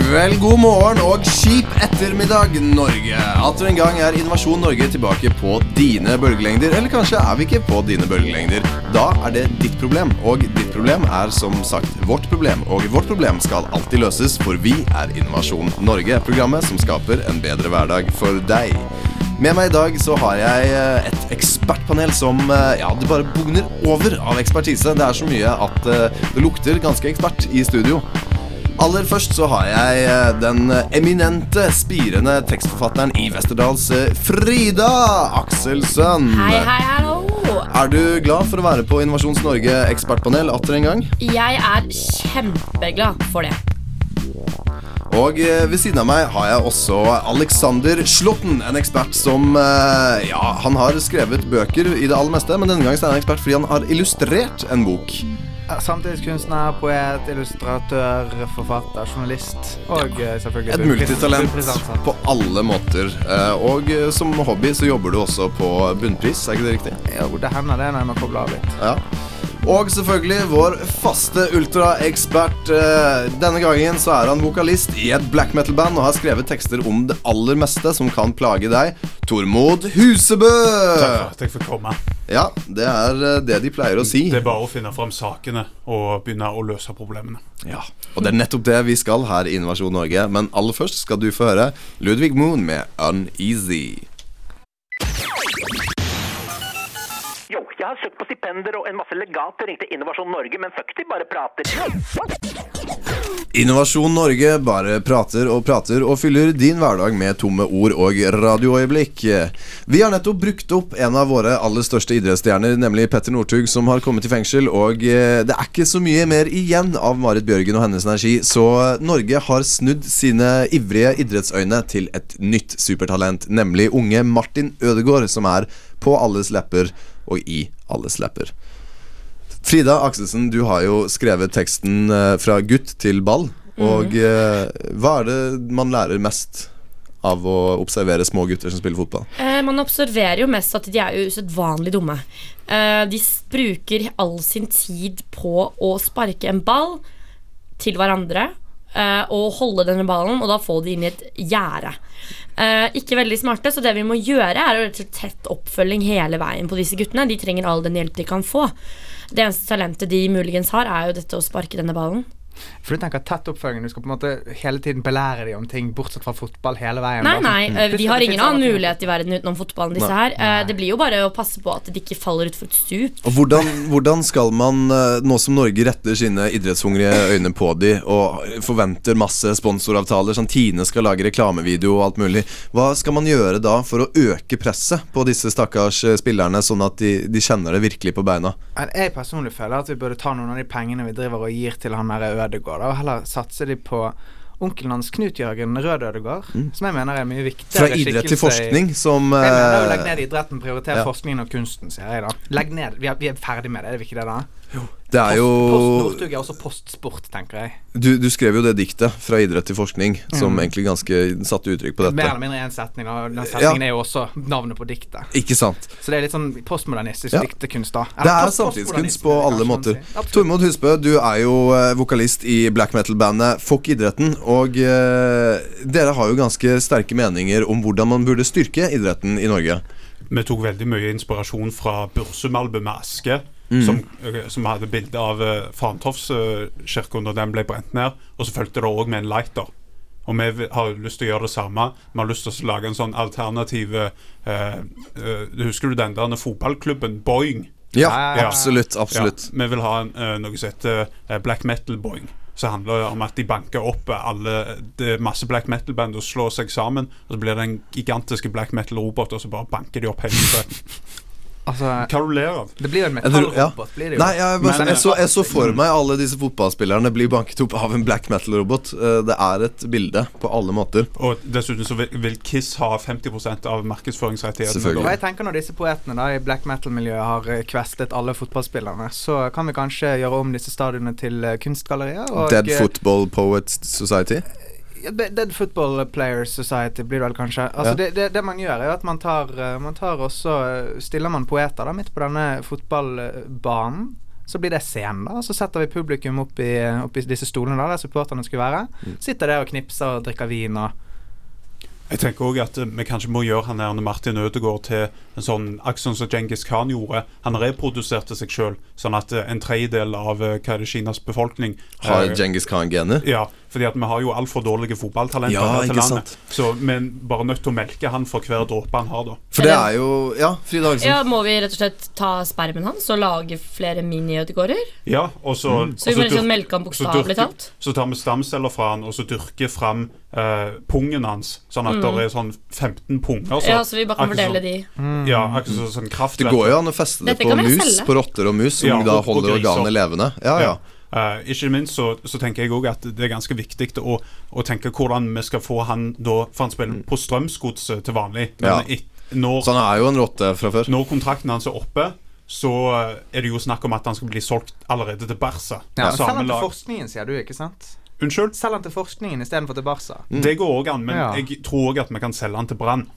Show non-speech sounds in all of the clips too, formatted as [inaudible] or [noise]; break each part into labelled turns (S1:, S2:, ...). S1: Vel, god morgen og kjip ettermiddag, Norge. Atter en gang er Innovasjon Norge tilbake på dine bølgelengder. Eller kanskje er vi ikke på dine bølgelengder. Da er det ditt problem, og ditt problem er som sagt vårt problem. Og vårt problem skal alltid løses, for vi er Innovasjon Norge, programmet som skaper en bedre hverdag for deg. Med meg i dag så har jeg eh, et ekspertpanel som eh, ja, det bare bugner over av ekspertise. Det er så mye at eh, det lukter ganske ekspert i studio. Aller først så har jeg eh, den eminente, spirende tekstforfatteren i Westerdals, eh, Frida Akselsen.
S2: Hei, hei, hallo!
S1: Er du glad for å være på Innovasjons Norge ekspertpanel atter en gang?
S2: Jeg er kjempeglad for det.
S1: Og eh, ved siden av meg har jeg også Alexander Slåtten, en ekspert som eh, Ja, han har skrevet bøker i det aller meste, men denne gangen så er han ekspert fordi han har illustrert en bok.
S3: Samtidskunstner, poet, illustratør, forfatter, journalist og eh, selvfølgelig
S1: Et
S3: bunnpris-
S1: multitalent
S3: bunnprisansatt.
S1: på alle måter. Eh, Og eh, som hobby så jobber du også på bunnpris, er ikke det riktig?
S3: Jo, det hender det når jeg må koble av litt.
S1: Ja. Og selvfølgelig vår faste ultraekspert. Eh, Denne gangen så er han vokalist i et black metal-band og har skrevet tekster om det aller meste som kan plage deg. Tormod Husebø!
S4: Takk
S1: Eh,
S4: for at jeg fikk komme.
S1: Ja, det er eh, det de pleier å si.
S4: Det er bare å finne fram sakene og begynne å løse problemene.
S1: Ja. Og det er nettopp det vi skal her i Innovasjon Norge. Men aller først skal du få høre Ludvig Moon med 'Uneasy'.
S5: Jo, jeg har søkt på stipender og en masse legater ringte Innovasjon Norge, men fuck, de bare prater.
S1: Innovasjon Norge bare prater og prater og fyller din hverdag med tomme ord og radioøyeblikk. Vi har nettopp brukt opp en av våre aller største idrettsstjerner, nemlig Petter Northug, som har kommet i fengsel, og eh, det er ikke så mye mer igjen av Marit Bjørgen og hennes energi, så Norge har snudd sine ivrige idrettsøyne til et nytt supertalent, nemlig unge Martin Ødegaard, som er på alles lepper og i alles lepper. Frida Akselsen, du har jo skrevet teksten eh, fra gutt til ball.
S3: Mhm.
S1: Og eh, hva er det man lærer mest av å observere små gutter som spiller fotball?
S2: Eh, man observerer jo mest at de er jo usedvanlig dumme. Eh, de s- bruker all sin tid på å sparke en ball til hverandre eh, og holde denne ballen, og da få de inn i et gjerde. Eh, ikke veldig smarte, så det vi må gjøre, er å rett og slett tett oppfølging hele veien på disse guttene. De trenger all den hjelp de kan få. Det eneste talentet de muligens har, er jo dette å sparke denne ballen.
S3: For du tenker tett oppfølging. Du skal på en måte hele tiden belære dem om ting, bortsett fra fotball, hele veien.
S2: Nei,
S3: da.
S2: nei, eh,
S3: Det
S2: de
S3: skal-
S2: har
S3: det
S2: ingen
S3: finnes
S2: annen
S3: andre ting.
S2: mulighet i verden utenom fotballen, disse her. Eh, Det blir jo bare å passe på at de ikke faller utfor et stup.
S1: Og hvordan, hvordan skal man, eh, nå som Norge retter sine idrettshungrige øyne på de og forventer masse sponsoravtaler, sånn Tine skal lage reklamevideo og alt mulig, hva skal man gjøre da for å øke presset på disse stakkars eh, spillerne, sånn at de, de kjenner det virkelig på beina?
S3: Men Jeg personlig føler at vi burde ta noen av de pengene vi driver og gir til han der Ødegård, da, og heller satse de på onkelen hans Knut Jørgen Rød Ødegård, som jeg mener er mye viktigere
S1: Mm. Fra idrett til
S3: skikkelse i-
S1: forskning, som
S3: Jeg mener,
S1: eh,
S3: legg ned idretten, prioriter
S1: ja.
S3: forskningen og kunsten, sier jeg da. Legg ned, Vi er, vi er ferdig med det, er vi ikke det da?
S1: det er jo
S3: Post Northug er også postsport, tenker jeg.
S1: Du, du skrev jo det diktet fra idrett til forskning som
S3: Mm.
S1: egentlig ganske satte uttrykk på
S3: Mer
S1: dette.
S3: eller mindre én setning, og den setningen er jo også navnet på diktet.
S1: Ikke sant?
S3: Så det er litt sånn postmodernistisk
S1: Ja.
S3: diktekunst, da.
S1: Det er
S3: post-
S1: samtidskunst
S3: postmodernisme,
S1: på
S3: vil jeg
S1: alle
S3: kanskje
S1: måter.
S3: si. Absolutt.
S1: Tormod Husbø, du er jo eh, vokalist i black metal-bandet Fuck idretten. Og eh, dere har jo ganske sterke meninger om hvordan man burde styrke idretten i Norge.
S4: Vi tok veldig mye inspirasjon fra Bursum-albumet Aske,
S1: Mm.
S4: som, eh, som hadde bilde av eh, Fantoftskirken da den ble brent ned. Og så fulgte det òg med en lighter. Og vi vil- har lyst til å gjøre det samme. Vi har lyst til å lage en sånn alternativ eh, eh, Husker du den der fotballklubben Boing?
S1: Ja,
S3: Ja.
S1: absolutt. absolutt
S4: Ja, vi vil ha en, eh, noe som heter eh, black metal-boing. Som handler om at de banker opp eh, alle det er masse black metal-band og slår seg sammen. Og så blir det en gigantiske black metal-robot, og så bare banker de opp hele tiden.
S3: Altså,
S4: [laughs] Hva du ler av?
S3: det blir jo en
S1: Jeg tror- ja.
S3: metallrobot, blir det jo.
S1: Nei, jeg,
S4: Men-
S1: jeg, så, jeg så for meg alle disse fotballspillerne bli banket opp av en black metal-robot. Eh, Det er et bilde på alle måter.
S4: Og dessuten så vil, vil Kiss ha 50 av markedsføringsrettighetene.
S1: Selvfølgelig.
S3: Og jeg tenker Når disse poetene da i black metal-miljøet har eh, kvestet alle fotballspillerne, så kan vi kanskje gjøre om disse stadionene til eh, kunstgallerier. og,
S1: Dead
S3: eh,
S1: Football Poets Society.
S3: Ja, Be- Dead Football Players Society blir det vel kanskje. Altså
S1: Ja.
S3: det, det, det man gjør, er jo at man tar, eh, man tar også eh, Stiller man poeter da midt på denne fotballbanen, Så blir det scenen, da. og Så setter vi publikum opp i, opp i disse stolene da, der supporterne skulle være. Sitter der og knipser og drikker vin og
S4: Jeg tenker også at eh, vi kanskje må gjøre han her Martin Ødegaard til en sånn aksjon som Genghis Khan gjorde. Han reproduserte seg sjøl, sånn at eh, en tredjedel av eh, hva er det, Kinas befolkning eh,
S1: Har Djengis Khan-genet?
S4: Ja, fordi at vi har jo altfor dårlige fotballtalenter
S1: Ja,
S4: her til
S1: ikke
S4: landet. Så vi er bare nødt til å melke han for hver dråpe han har, da.
S1: For det er jo Ja, Frida Hagensen.
S2: Ja, Må vi rett og slett ta spermen hans og lage flere mini-Ødegårder?
S4: Ja, og så,
S2: Så vi
S4: og
S2: må liksom
S4: dyr-
S2: melke han
S4: så
S2: bokstavelig
S4: dyrker-
S2: talt?
S4: Så tar vi stamceller fra han, og så dyrker fram eh, pungen hans, sånn at det er sånn 15 punger. så-
S2: Mm. Ja, så vi bare kan
S4: akkurat
S2: fordele
S4: sånn-
S2: de.
S4: Ja, akkurat sånn, sånn kraftverk.
S1: Det går jo an å feste det
S2: Dette
S1: på
S2: kan vi jo
S1: mus,
S2: selge.
S1: på rotter og mus, som
S4: Ja,
S1: da
S4: og- og
S1: holder
S4: griser.
S1: organene levende. Ja, ja.
S4: Eh, ikke minst så, så tenker jeg òg at det er ganske viktig å, å tenke hvordan vi skal få han da For han spiller på Strømsgodset til vanlig. Men
S1: Mm. Ja.
S4: et, når,
S1: Så han er jo en rotte fra før.
S4: når kontrakten hans er oppe, så eh, er det jo snakk om at han skal bli solgt allerede til Barca.
S3: ja,
S4: Samme
S3: Selg den til
S4: lag-
S3: forskningen, sier du, ikke sant?
S4: Unnskyld?
S3: Selg den til forskningen istedenfor til Barca.
S4: Det går òg an, men
S3: Ja.
S4: jeg tror òg at vi kan selge han til Brann.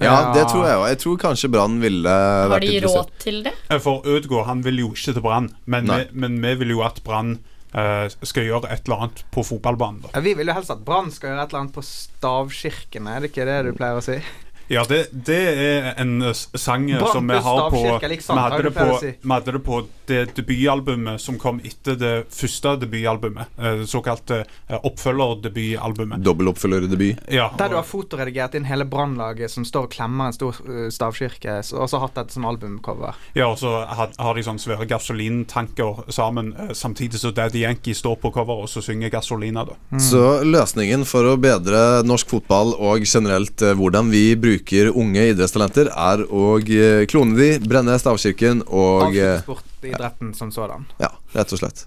S1: Ja, det tror jeg òg. Jeg tror kanskje Brann ville
S2: Har
S1: vært
S2: de
S1: interessert.
S2: råd til det?
S4: Eh, For Ødegaard han vil jo ikke til Brann, men,
S1: Nei.
S4: vi- men vi vil jo at Brann eh, skal gjøre et eller annet på fotballbanen. da
S3: Ja, vi vil jo helst at Brann skal gjøre et eller annet på stavkirkene, er det ikke det du pleier å si?
S4: Ja, det, det er en eh, s- sang eh,
S3: Brann
S4: som vi
S3: pluss
S4: har på
S3: stavkirke,
S4: Vi
S3: liksom, har du
S4: hadde det
S3: pleier
S4: på,
S3: å si.
S4: vi hadde det, på det debutalbumet som kom etter det første debutalbumet. eh, Det såkalte eh, oppfølgerdebutalbumet.
S1: Dobbeltoppfølgerdebut.
S4: Ja,
S3: Der du har
S4: og,
S3: fotoredigert inn hele Brannlaget som står og klemmer en stor eh, stavkirke, s- og så hatt dette som albumcover.
S4: ja, og så har, har de sånne svære gasolintanker sammen, eh, samtidig som Daddy Yankee står på coveret og så synger Gasolina, da.
S1: Så løsningen for å bedre norsk fotball og generelt eh, hvordan vi bruker unge idrettstalenter, er å eh, klone de, brenne stavkirken og eh,
S3: Avslutningssportidretten som sådan.
S1: Ja, rett og slett.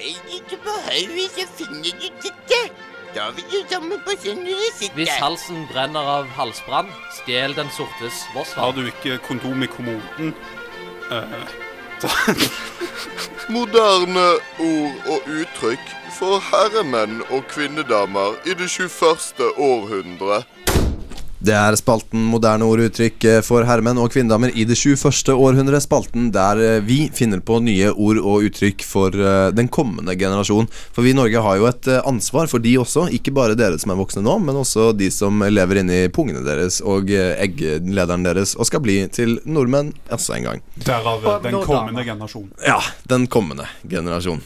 S6: Hei, ikke på høyre, så finner du dette. Da vil du sammen på søndag sitte.
S7: Hvis halsen brenner av halsbrann, stjel den sortes
S4: Har
S7: Vossvann.
S4: du ikke kondom i kommoden?
S8: Moderne ord og uttrykk for herremenn og kvinnedamer i det 21. århundre.
S1: Det er spalten Moderne ord og uttrykk eh, for herremenn og kvinnedamer i det 21. århundre. Spalten der eh, vi finner på nye ord og uttrykk for eh, den kommende generasjon. For vi i Norge har jo et eh, ansvar for de også. Ikke bare dere som er voksne nå, men også de som lever inni pungene deres og eh, egglederen deres og skal bli til nordmenn også en gang.
S4: Derav eh,
S3: Og
S4: den
S3: nå
S4: kommende
S3: damer.
S4: generasjonen.
S1: Ja, den kommende generasjon.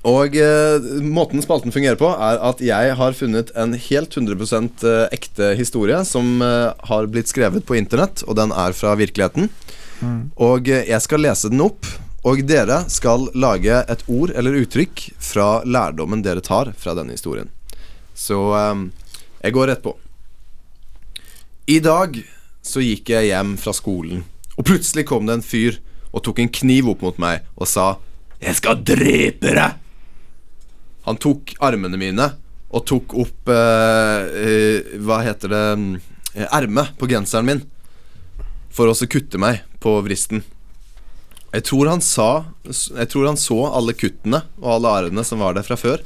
S1: Og eh, måten spalten fungerer på, er at jeg har funnet en helt 100 eh, ekte historie som eh, har blitt skrevet på internett, og den er fra virkeligheten. Og eh, jeg skal lese den opp, og dere skal lage et ord eller uttrykk fra lærdommen dere tar fra denne historien. Så eh, jeg går rett på. I dag så gikk jeg hjem fra skolen, og plutselig kom det en fyr og tok en kniv opp mot meg og sa 'Jeg skal drepe deg'. Han tok armene mine og tok opp eh, eh, Hva heter det eh, Ermet på genseren min for å så kutte meg på vristen. Jeg tror han sa Jeg tror han så alle kuttene og alle arrene som var der fra før.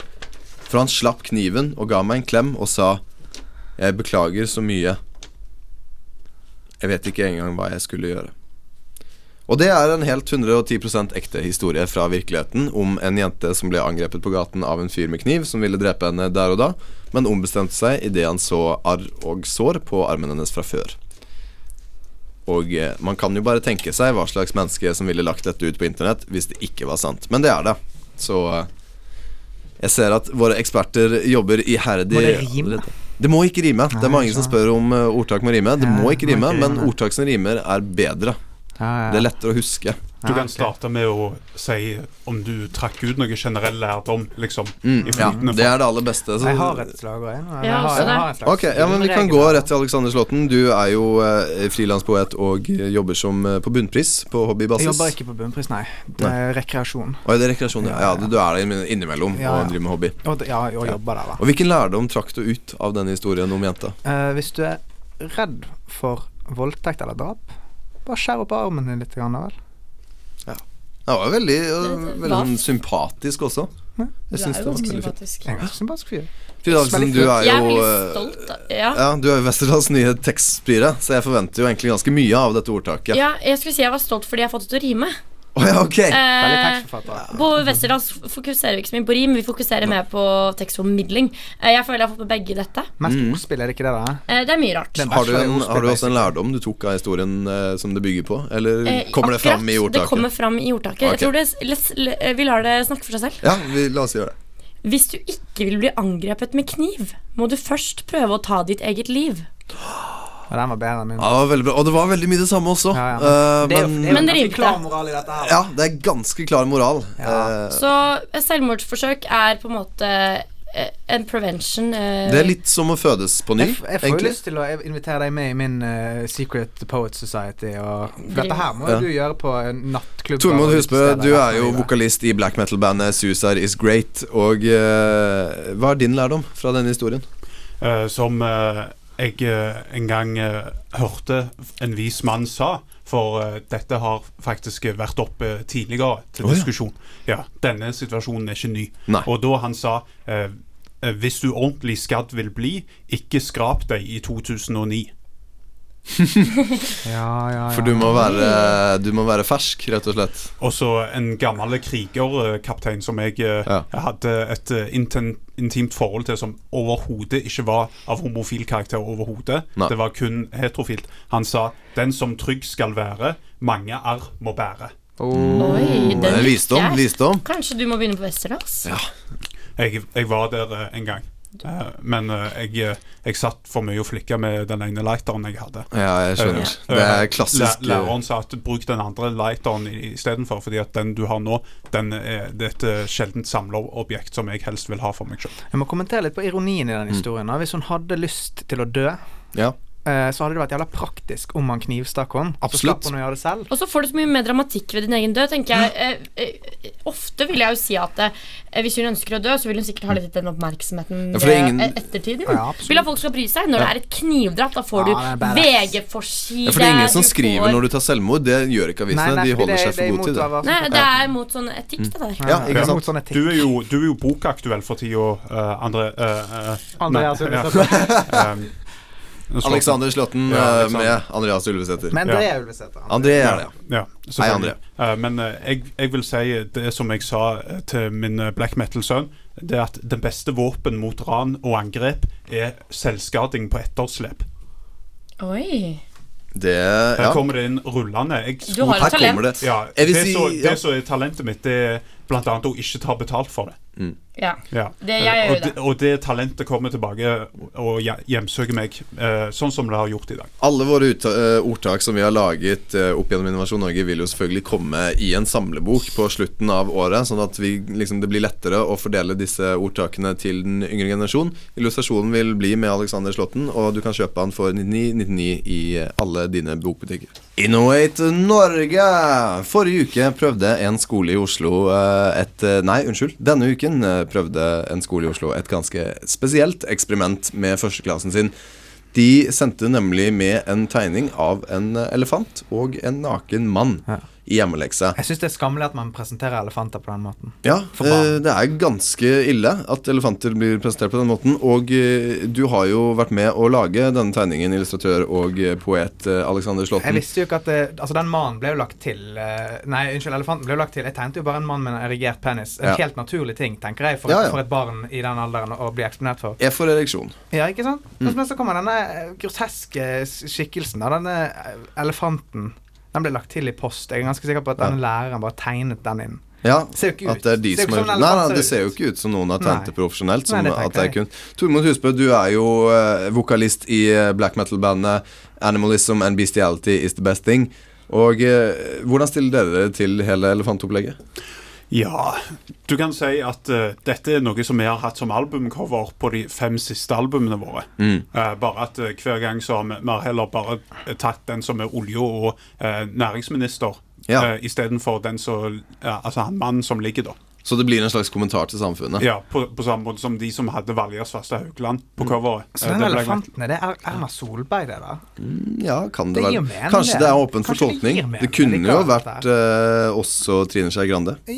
S1: For han slapp kniven og ga meg en klem og sa 'Jeg beklager så mye'. Jeg vet ikke engang hva jeg skulle gjøre. Og det er en helt 110 ekte historie fra virkeligheten om en jente som ble angrepet på gaten av en fyr med kniv som ville drepe henne der og da, men ombestemte seg idet han så arr og sår på armen hennes fra før. Og eh, man kan jo bare tenke seg hva slags menneske som ville lagt dette ut på internett hvis det ikke var sant. Men det er det. Så eh, jeg ser at våre eksperter jobber iherdig
S3: Må det rime?
S1: allerede. Det må ikke rime. Det er mange som spør om eh, ordtak må rime. Det
S3: Ja,
S1: må ikke
S3: det må
S1: rime,
S3: ikke
S1: men
S3: rime.
S1: ordtak som rimer, er bedre. Det er lettere å huske.
S4: Du kan starte med å si om du trakk ut noe generell lærdom, liksom. i
S1: Ja,
S4: flytende
S1: det er det aller beste. så-
S3: Jeg har et slagord, jeg. nå. Jeg
S2: Ja,
S3: har,
S2: også
S3: jeg
S2: det.
S3: har en slags
S1: Ok, ja, men Vi kan gå rett til Alexander Slåtten. Du er jo eh, frilanspoet og eh, jobber som eh, på bunnpris på
S3: Jeg
S1: hobbybasis.
S3: jobber ikke på bunnpris, nei. Det er rekreasjon.
S1: Oi, det er rekreasjon, ja. ja du, du er der innimellom
S3: Ja, ja.
S1: og driver med hobby.
S3: Og, d- ja, og jobber der, da.
S1: Og Hvilken lærdom trakk du ut av denne historien om jenta?
S3: Eh, hvis du er redd for voldtekt eller drap, bare skjær opp armen din litt, grann, da vel.
S1: Det var veldig, eh,
S2: Det- det
S1: veldig
S2: var-
S1: sånn sympatisk også.
S3: Ja.
S1: Jeg syns det var veldig fint.
S2: sympatisk.
S3: Jeg er ganske sympatisk fyr.
S2: Eh.
S1: Frida Adelsen,
S3: Veldig
S1: du
S3: flott.
S1: er
S2: Jeg er
S1: jo
S2: veldig
S1: eh,
S2: stolt. av- Ja.
S1: ja, du er jo Westerdals nye tekstspire, så jeg forventer jo egentlig ganske mye av dette ordtaket.
S2: ja, jeg skulle si jeg var stolt fordi jeg har fått det til å rime.
S1: Å ja, ok.
S3: Veldig
S2: Eh,
S3: tekstforfatter.
S2: på Westerdals fokuserer vi ikke så mye på rim, vi fokuserer mer på tekstformidling. Eh, Jeg føler jeg har fått med begge i dette.
S3: Mest
S1: Mm.
S3: ordspill, er det ikke det? da?
S2: Eh, Det er mye rart.
S3: Den
S1: Har du,
S3: bachelor i
S1: en,
S3: ordspill,
S1: har du også en
S3: basically.
S1: lærdom du tok av historien eh, som det bygger på? Eller
S2: Eh,
S1: Mm. kommer det
S2: akkurat,
S1: fram i ordtaket?
S2: Det kommer fram i ordtaket.
S1: Ok.
S2: Jeg tror det, s- les, le, eh, Vi lar det snakke for seg selv.
S1: Ja, vi, la oss gjøre det.
S2: Hvis du ikke vil bli angrepet med kniv, må du først prøve å ta ditt eget liv.
S3: Ja, den var bedre enn min.
S1: Ja, det var veldig bra. Og det var veldig mye det samme også.
S3: Ja,
S1: Ah. Eh, men
S2: Men det rimte.
S3: klar moral i dette her.
S1: ja, det er ganske klar moral.
S3: Ja.
S1: Eh,
S2: Så eh, selvmordsforsøk er på en måte eh, en prevention. eh,
S1: det er litt som å fødes på ny,
S3: Jeg, f- jeg får jo
S1: egentlig.
S3: lyst til å invitere deg med i min eh, Secret Poet Society. Og
S2: Driv.
S3: dette her må
S1: Ja.
S3: jo du gjøre på en nattklubb.
S1: Tormod
S3: og
S1: Husbø,
S3: utesteder
S1: du
S3: resten av
S1: er jo
S3: livet.
S1: vokalist i black metal-bandet Susar Is Great. Og eh, hva er din lærdom fra denne historien?
S4: eh, som eh, jeg eh, en gang eh, hørte en vis mann sa. For eh, dette har faktisk eh, vært oppe tidligere til
S1: Å, ja.
S4: diskusjon. Ja, Denne situasjonen er ikke ny.
S1: Nei.
S4: Og da han sa eh, eh, Hvis du ordentlig skadd vil bli, ikke skrap deg i 2009.
S3: Ja, ja, ja.
S1: For du må være, du må være fersk, rett og slett.
S4: Og så en gammel krigerkaptein som jeg eh,
S1: Ja.
S4: hadde et eh, inten, intimt forhold til, som overhodet ikke var av homofil karakter. overhodet
S1: Nei.
S4: Det var kun heterofilt. Han sa 'den som trygg skal være, mange arr må bære'.
S1: Mm.
S3: Åh.
S2: Oi,
S1: Det
S2: den
S1: er Eh,
S2: likte
S1: visdom.
S2: jeg.
S1: visdom
S2: Kanskje du må begynne på Westerdals?
S4: Jeg, jeg var der eh, en gang, Eh, men eh, jeg, eh, jeg satt for mye og flikka med den ene lighteren jeg hadde.
S1: Ja, jeg skjønner.
S4: Eh,
S1: Det er
S4: eh,
S1: klassisk.
S4: læ- Læreren sa at bruk den andre lighteren i- istedenfor, fordi at den du har nå, den er, det er et eh, sjeldent samlerobjekt som jeg helst vil ha for meg sjøl.
S3: Jeg må kommentere litt på ironien i den
S1: Mm.
S3: historien. da. Hvis hun hadde lyst til å dø,
S1: Ja.
S3: eh, så hadde det vært jævla praktisk om han knivstakk henne. Så
S1: Absolutt.
S3: slapp hun å gjøre det selv.
S2: Og så får du så mye mer dramatikk ved din egen død, tenker jeg. Eh, eh, ofte vil jeg jo si at eh, hvis hun ønsker å dø, så vil hun sikkert ha litt den oppmerksomheten
S1: Ja, for det er ingen-
S2: eh, ettertiden.
S3: Ja, absolutt.
S2: vil at folk skal bry seg. Når det er et knivdrap, da får
S3: Ja, det er
S2: du
S3: badass.
S1: ja,
S2: VG-forside.
S1: For det er ingen som skriver når du tar selvmord. Det gjør ikke avisene. De holder seg for gode til det.
S2: Nei, det er mot sånn etikk, det der.
S1: Ja, ikke sant?
S3: Mot sånne ting.
S4: Du er jo, du er jo bokaktuell for tida, uh, André eh, eh,
S3: Andreas
S4: nei, ja. [laughs] Um,
S1: [laughs]
S4: så-
S1: Alexander Slåtten
S4: Ja,
S1: eh,
S4: Alexander.
S1: med Andreas Ulvesæter.
S3: Men det
S4: Ja.
S3: er Ulvesæter.
S1: André er det.
S4: Ja,
S1: Hei,
S4: selvfølgelig. Eh, men eh, jeg, jeg vil si det som jeg sa eh, til min eh, black metal-sønn, det er at det beste våpen mot ran og angrep er selvskading på etterslep.
S2: Oi.
S1: Det
S4: Her
S1: Ja.
S4: kommer det inn rullende. Jeg
S2: Du har
S1: Her
S2: et talent.
S1: kommer det.
S4: ja,
S1: Jeg
S4: det,
S1: vil si
S4: så,
S1: ja.
S4: det som er talentet mitt, det er bl.a. å ikke ta betalt for det.
S2: Ja.
S4: Ja.
S2: Det- jeg gjør jo
S4: og, det. og det talentet kommer tilbake og hje- hjemsøker meg, eh, sånn som det har gjort i dag.
S1: Alle våre utta- eh, ordtak som vi har laget eh, opp gjennom Innovasjon Norge, vil jo selvfølgelig komme i en samlebok på slutten av året, sånn at vi, liksom, det blir lettere å fordele disse ordtakene til den yngre generasjon. Illustrasjonen vil bli med Alexander Slåtten, og du kan kjøpe han for 99,99 i eh, alle dine bokbutikker. Innovate Norge! Forrige uke prøvde en skole i Oslo eh, et eh, Nei, unnskyld. Denne uken eh, prøvde en skole i Oslo et ganske spesielt eksperiment med førsteklassen sin. De sendte nemlig med en tegning av en eh, elefant og en naken mann i hjemmelekse.
S3: Jeg syns det er skammelig at man presenterer elefanter på den måten.
S1: Ja,
S3: For barn.
S1: eh, det er ganske ille at elefanter blir presentert på den måten. Og eh, du har jo vært med å lage denne tegningen, illustratør og eh, poet eh, Alexander
S3: Jeg
S1: Slåtten.
S3: visste jo ikke at det, Altså, den mannen ble jo lagt til eh, Nei, unnskyld, elefanten ble jo lagt til. Jeg tegnet jo bare en mann med en erigert penis. En
S1: Ja.
S3: helt naturlig ting, tenker jeg, for,
S1: Ja, ja.
S3: for et barn i den alderen å bli eksponert for.
S1: Jeg får ereksjon.
S3: Ja, ikke sant?
S1: Mm.
S3: Men så kommer denne eh, groteske s- skikkelsen av denne eh, elefanten. Den ble lagt til i post. Jeg er ganske sikker på at denne læreren bare tegnet den inn.
S1: Ja,
S3: Ser jo ikke
S1: at
S3: ut.
S1: det er de
S3: Ser jo
S1: som har
S3: ikke som
S1: gjort
S3: en
S1: Nei,
S3: elefant
S1: nei,
S3: ser
S1: det ser jo
S3: ut.
S1: ikke ut som noen har tegnet
S3: Nei.
S1: det profesjonelt. Som
S3: Nei, det
S1: at det er
S3: tenker jeg.
S1: kun Tormod Husbø, du er jo eh, vokalist i eh, black metal-bandet Animalism and Bestiality Is The Best Thing. Og eh, hvordan stiller dere dere til hele elefantopplegget?
S4: Ja, du kan si at eh, dette er noe som vi har hatt som albumcover på de fem siste albumene våre. Eh, bare at eh, hver gang så har vi, vi har heller bare eh, tatt den som er olje- og eh, næringsminister,
S1: Ja.
S4: eh, istedenfor den som ja, Altså han mannen som ligger, da.
S1: Så det blir en slags kommentar til samfunnet?
S4: Ja, på, på samme måte som de som hadde Valgerd Svarstad Haugland på coveret.
S3: Mm. Så
S4: Eh,
S3: den
S4: det ble-
S3: elefanten, er det er Erna Solberg, det, da?
S1: Ja, kan det,
S3: Det gir
S1: være.
S3: mening,
S1: Kanskje
S3: det.
S1: det er åpent for
S3: Kanskje det
S1: tolkning.
S3: gir mening
S1: Det kunne jo
S3: likevel,
S1: vært eh, også Trine Skei Grande.
S3: Ja,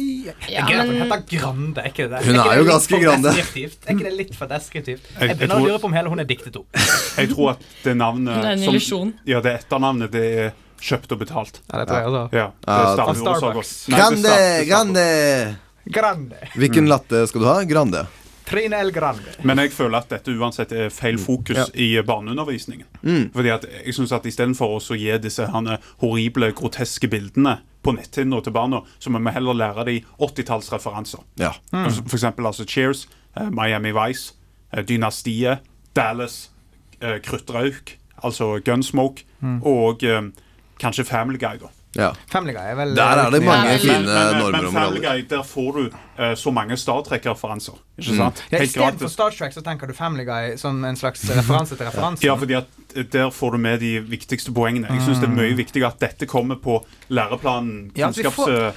S2: Ja,
S3: men... Hun
S2: men-
S3: heter Grande, er ikke det det?
S1: Hun
S3: ikke
S1: er
S3: det
S1: jo
S3: litt
S1: ganske
S3: for
S1: Grande.
S3: deskriptivt? Er ikke det litt for deskriptivt?
S4: jeg
S3: Jeg begynner å
S4: tror-
S3: lure på om hele hun er diktet opp.
S4: Jeg tror at det navnet
S2: [laughs] Det er en
S4: som-
S2: illusjon.
S4: Ja, det etternavnet, det er Kjøpt og betalt.
S3: Ja, det tror jeg også.
S4: Ja, det
S1: Ja,
S4: er Starbucks.
S3: Starbucks.
S4: også. Nei, det er
S1: Grande, Mm.
S4: Starbucks.
S1: grande!
S3: Grande.
S1: Hvilken latte skal du ha? Grande.
S3: Trine El Grande.
S4: Men jeg føler at dette uansett er feil fokus
S1: Ja.
S4: i barneundervisningen.
S3: Mm.
S4: Fordi at jeg synes at Istedenfor å gi disse herne horrible, groteske bildene på netthinna til barna, så må vi heller lære dem 80-tallsreferanser.
S1: Ja.
S3: Mm.
S4: Altså, For eksempel altså Cheers, eh, Miami Vice, eh, Dynastiet, Dallas, eh, Kruttrauk, altså Gunsmoke,
S3: Mm.
S4: og eh, kanskje Family Guy, da.
S1: ja.
S3: Family Guy er vel eh,
S1: Der er det mange
S2: Men-
S1: fine
S4: Men, men,
S1: normer
S4: men
S1: og
S4: Family
S1: moraler.
S4: Guy, der får du eh, så mange Star Trek-referanser. Ikke sant?
S3: Mm. ja,
S4: Helt
S3: Istedenfor
S4: gratis.
S3: Star Trek så tenker du Family Guy som en slags eh, referanse til referansen.
S4: Ja, fordi at eh, der får du med de viktigste poengene. Jeg synes det er mye viktigere at dette kommer på
S3: Mm.
S4: læreplanen, eh,
S3: Ja, at vi får-
S4: kunnskapsløftet, eh,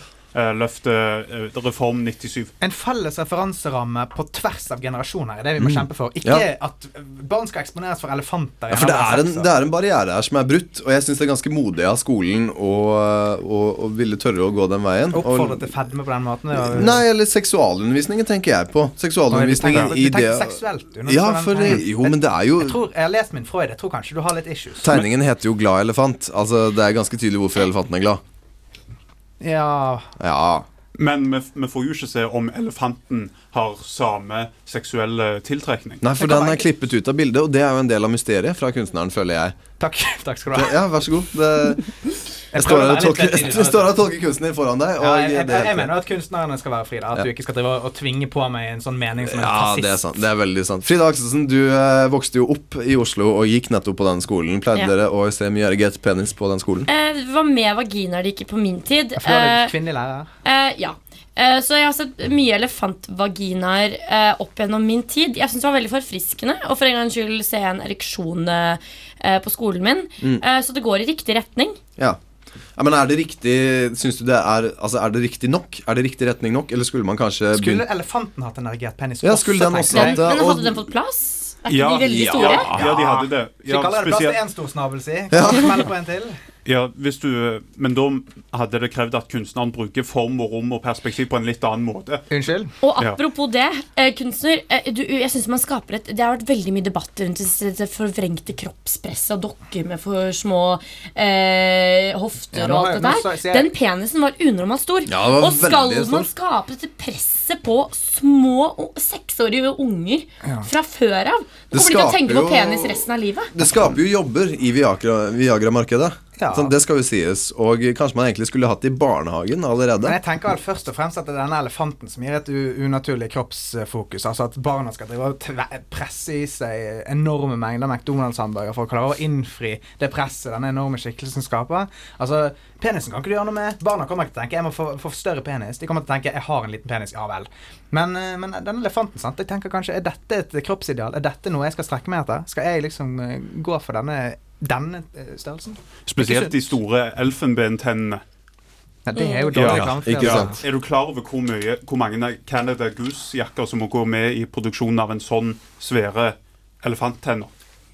S4: reform 97.
S3: En felles referanseramme på tvers av generasjoner er det vi må kjempe for. Ikke
S1: Mm. Ja.
S3: at eh, barn skal eksponeres for elefanter. i
S1: Ja, for det er, en,
S3: sekser.
S1: det er en barriere her som er brutt, og jeg syns det er ganske modig av skolen å, å, å ville tørre å gå den veien.
S3: Oppfordre
S1: og,
S3: til fedme på den måten. det er jo-
S1: Nei, eller seksualundervisningen tenker jeg på. Seksualundervisningen
S3: Nei,
S1: i
S3: vi
S1: det
S3: tenker- vi tenker seksuelt, du, når du
S1: Ja,
S3: får den
S1: for
S3: tegningen.
S1: jo, men det er jo
S3: Jeg tror, jeg har lest min Freud, jeg tror kanskje du har litt issues.
S1: Tegningen heter jo 'Glad elefant'. Altså, Det er ganske tydelig hvorfor elefanten er glad.
S3: Ja,
S1: Ja.
S4: Men vi, vi får jo ikke se om elefanten har samme seksuelle tiltrekning.
S1: Nei, for
S3: Det kan
S1: den er
S3: være-
S1: klippet ut av bildet, og det er jo en del av mysteriet fra kunstneren, føler jeg.
S3: takk, [laughs] takk skal du ha.
S1: Ja, vær så god. Det, jeg står
S3: Ah.
S1: her og
S3: prøver å være litt
S1: tolker,
S3: kreativ.
S1: [laughs] jeg står her og tolker kunstner foran deg, og
S3: altså. Ja, jeg, jeg,
S1: det
S3: jeg, mener jo at kunstnerne skal være fri. da At du ikke skal drive og tvinge på meg en sånn mening som en
S2: [laughs]
S1: Ja,
S3: fascist.
S1: det er sant. Det er veldig sant. Frida Akselsen, du eh, vokste jo opp i Oslo og gikk nettopp på den skolen. Pleide
S2: Ja.
S1: dere å se mye erget penis på den skolen?
S2: Eh, det var med vaginaer det gikk i på min tid.
S3: For da er det
S2: Eh,
S3: kvinnelig lærer.
S2: Eh, ja. Eh, så jeg har sett mye elefantvaginaer eh, opp gjennom min tid. Jeg syns det var veldig forfriskende å for en gangs skyld se en ereksjon eh, eh, på skolen min.
S4: Mm.
S2: Eh, så det går i riktig retning.
S1: Ja. ja. Men er det riktig Syns du det er Altså, er det riktig nok? Er det riktig retning nok, eller skulle man kanskje
S3: Skulle elefanten hatt en erigert penis?
S1: Mm. Ja, skulle den også hatt
S2: Den,
S3: tenker jeg.
S1: det?
S2: men
S1: og-
S2: hadde den fått plass? Er ikke de veldig
S4: ja,
S2: store?
S4: ja, de hadde det.
S3: Så vi
S4: Ja,
S3: kaller det plass til
S4: spesielt,
S3: én stor snabel, si. Kan du smelle på en til?
S4: ja, hvis du, men da hadde det krevd at kunstneren bruker form og rom og perspektiv på en litt annen måte.
S3: Unnskyld?
S2: Og
S4: Ja.
S2: apropos det, eh, kunstner. Eh, du, jeg synes man skaper et Det har vært veldig mye debatt rundt det- det forvrengte kroppspresset og dokker med for små eh, hofter
S3: Ja, nå
S2: og
S3: har
S2: alt
S3: jeg-
S2: det der.
S3: nå sa- sier jeg-
S2: Den penisen var unormalt stor.
S1: Ja, den var
S2: og skal
S1: veldig stor.
S2: man skape dette presset på små o- seksårige unger fra før av?
S1: Det
S2: Da kommer de til å
S1: skaper
S2: tenke
S1: jo-
S2: på penis resten av livet.
S1: Det skaper jo jobber i Viagra- Viagra-markedet.
S3: Ja.
S1: Sånn, det skal jo sies. Og kanskje man egentlig skulle hatt det i barnehagen allerede.
S3: Men jeg tenker vel først og fremst at det er denne elefanten som gir et u unaturlig kroppsfokus. Altså at barna skal drive og tve- presse i seg enorme mengder McDonald's-hamburger for å klare å innfri det presset denne enorme skikkelsen skaper. Altså, penisen kan ikke du gjøre noe med. Barna kommer ikke til å tenke 'jeg må få, få større penis'. De kommer til å tenke 'jeg har en liten penis', ja vel. Men, eh, men den elefanten, sant. Jeg tenker kanskje er dette et kroppsideal? Er dette noe jeg skal strekke meg etter? Skal jeg liksom eh, gå for denne, denne eh, størrelsen?
S4: Spesielt de store elfenbentennene.
S3: Ja, det er jo
S4: Ja,
S3: dårlig reklame for
S1: ikke
S3: det, altså.
S1: sant.
S4: Er du klar over hvor, mye, hvor mange Canada Goose-jakker som må gå med i produksjonen av en sånn svære elefanttenner?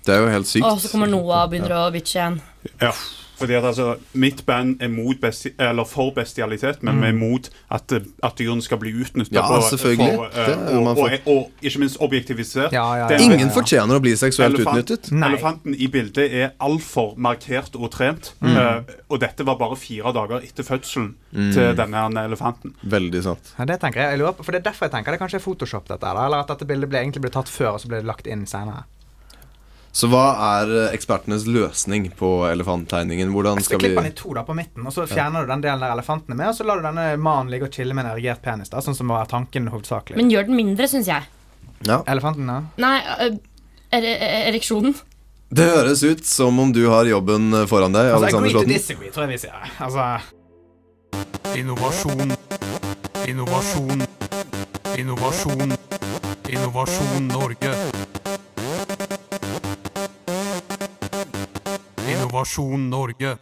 S1: Det er jo helt sykt.
S2: Og så kommer Noah og begynner å bitche igjen.
S4: Ja. Fordi at altså, Mitt band er mot besti eller for bestialitet, men vi er mot at, eh, at dyrene skal bli utnytta.
S1: Mm. Ja, selvfølgelig. Det er jo man
S4: eh, og, og,
S1: for.
S4: og ikke minst objektivisert.
S3: Ja, ja, ja.
S4: Det er-
S1: Ingen fortjener å bli seksuelt
S4: Elefant-
S1: utnyttet.
S3: Nei.
S4: Elefanten i bildet er altfor markert og trent.
S3: Mm.
S4: eh, og dette var bare fire dager etter fødselen
S1: Mm.
S4: til denne her elefanten.
S1: Veldig sant.
S3: Ja, det tenker jeg. jeg lurer på, for Det er derfor jeg tenker det kanskje er Photoshop, dette her. da, Eller at dette bildet ble, egentlig ble tatt før, og så ble det lagt inn senere.
S1: Så hva er eh, ekspertenes løsning på elefanttegningen? Hvordan
S3: Så
S1: skal vi
S3: klipper den i to da på midten, og så fjerner du den delen der elefanten er med, og så lar du denne mannen ligge og chille med en erigert penis, da, sånn som var tanken hovedsakelig.
S2: Men gjør den mindre, syns jeg.
S1: ja.
S3: Elefanten, da?
S2: Nei, øh, ere, ereksjonen.
S1: Det høres ut som om du har jobben eh, foran deg,
S3: Altså,
S1: Alexander
S3: agree to
S1: Slåtten.
S3: disagree, tror jeg vi sier. Altså,
S9: Innovasjon. Innovasjon. Innovasjon. Innovasjon Norge. Innovasjon Norge.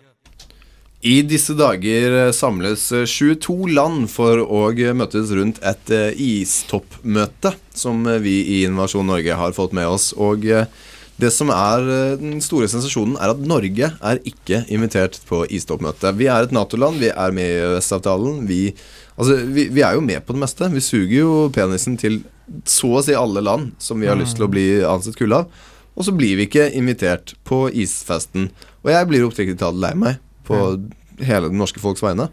S1: I disse dager eh, samles eh, 22 land for å eh, møtes rundt et eh, istoppmøte, som eh, vi i Innovasjon Norge har fått med oss. Og eh, det som er eh, den store sensasjonen, er at Norge er ikke invitert på istoppmøtet. Vi er et Nato-land, vi er med i EØS-avtalen. Vi, altså, vi, vi er jo med på det meste. Vi suger jo penisen til så å si alle land som vi har lyst til å bli ansett kule av. Og så blir vi ikke invitert på isfesten. Og jeg blir oppriktig talt lei meg. på hele det norske folks vegne.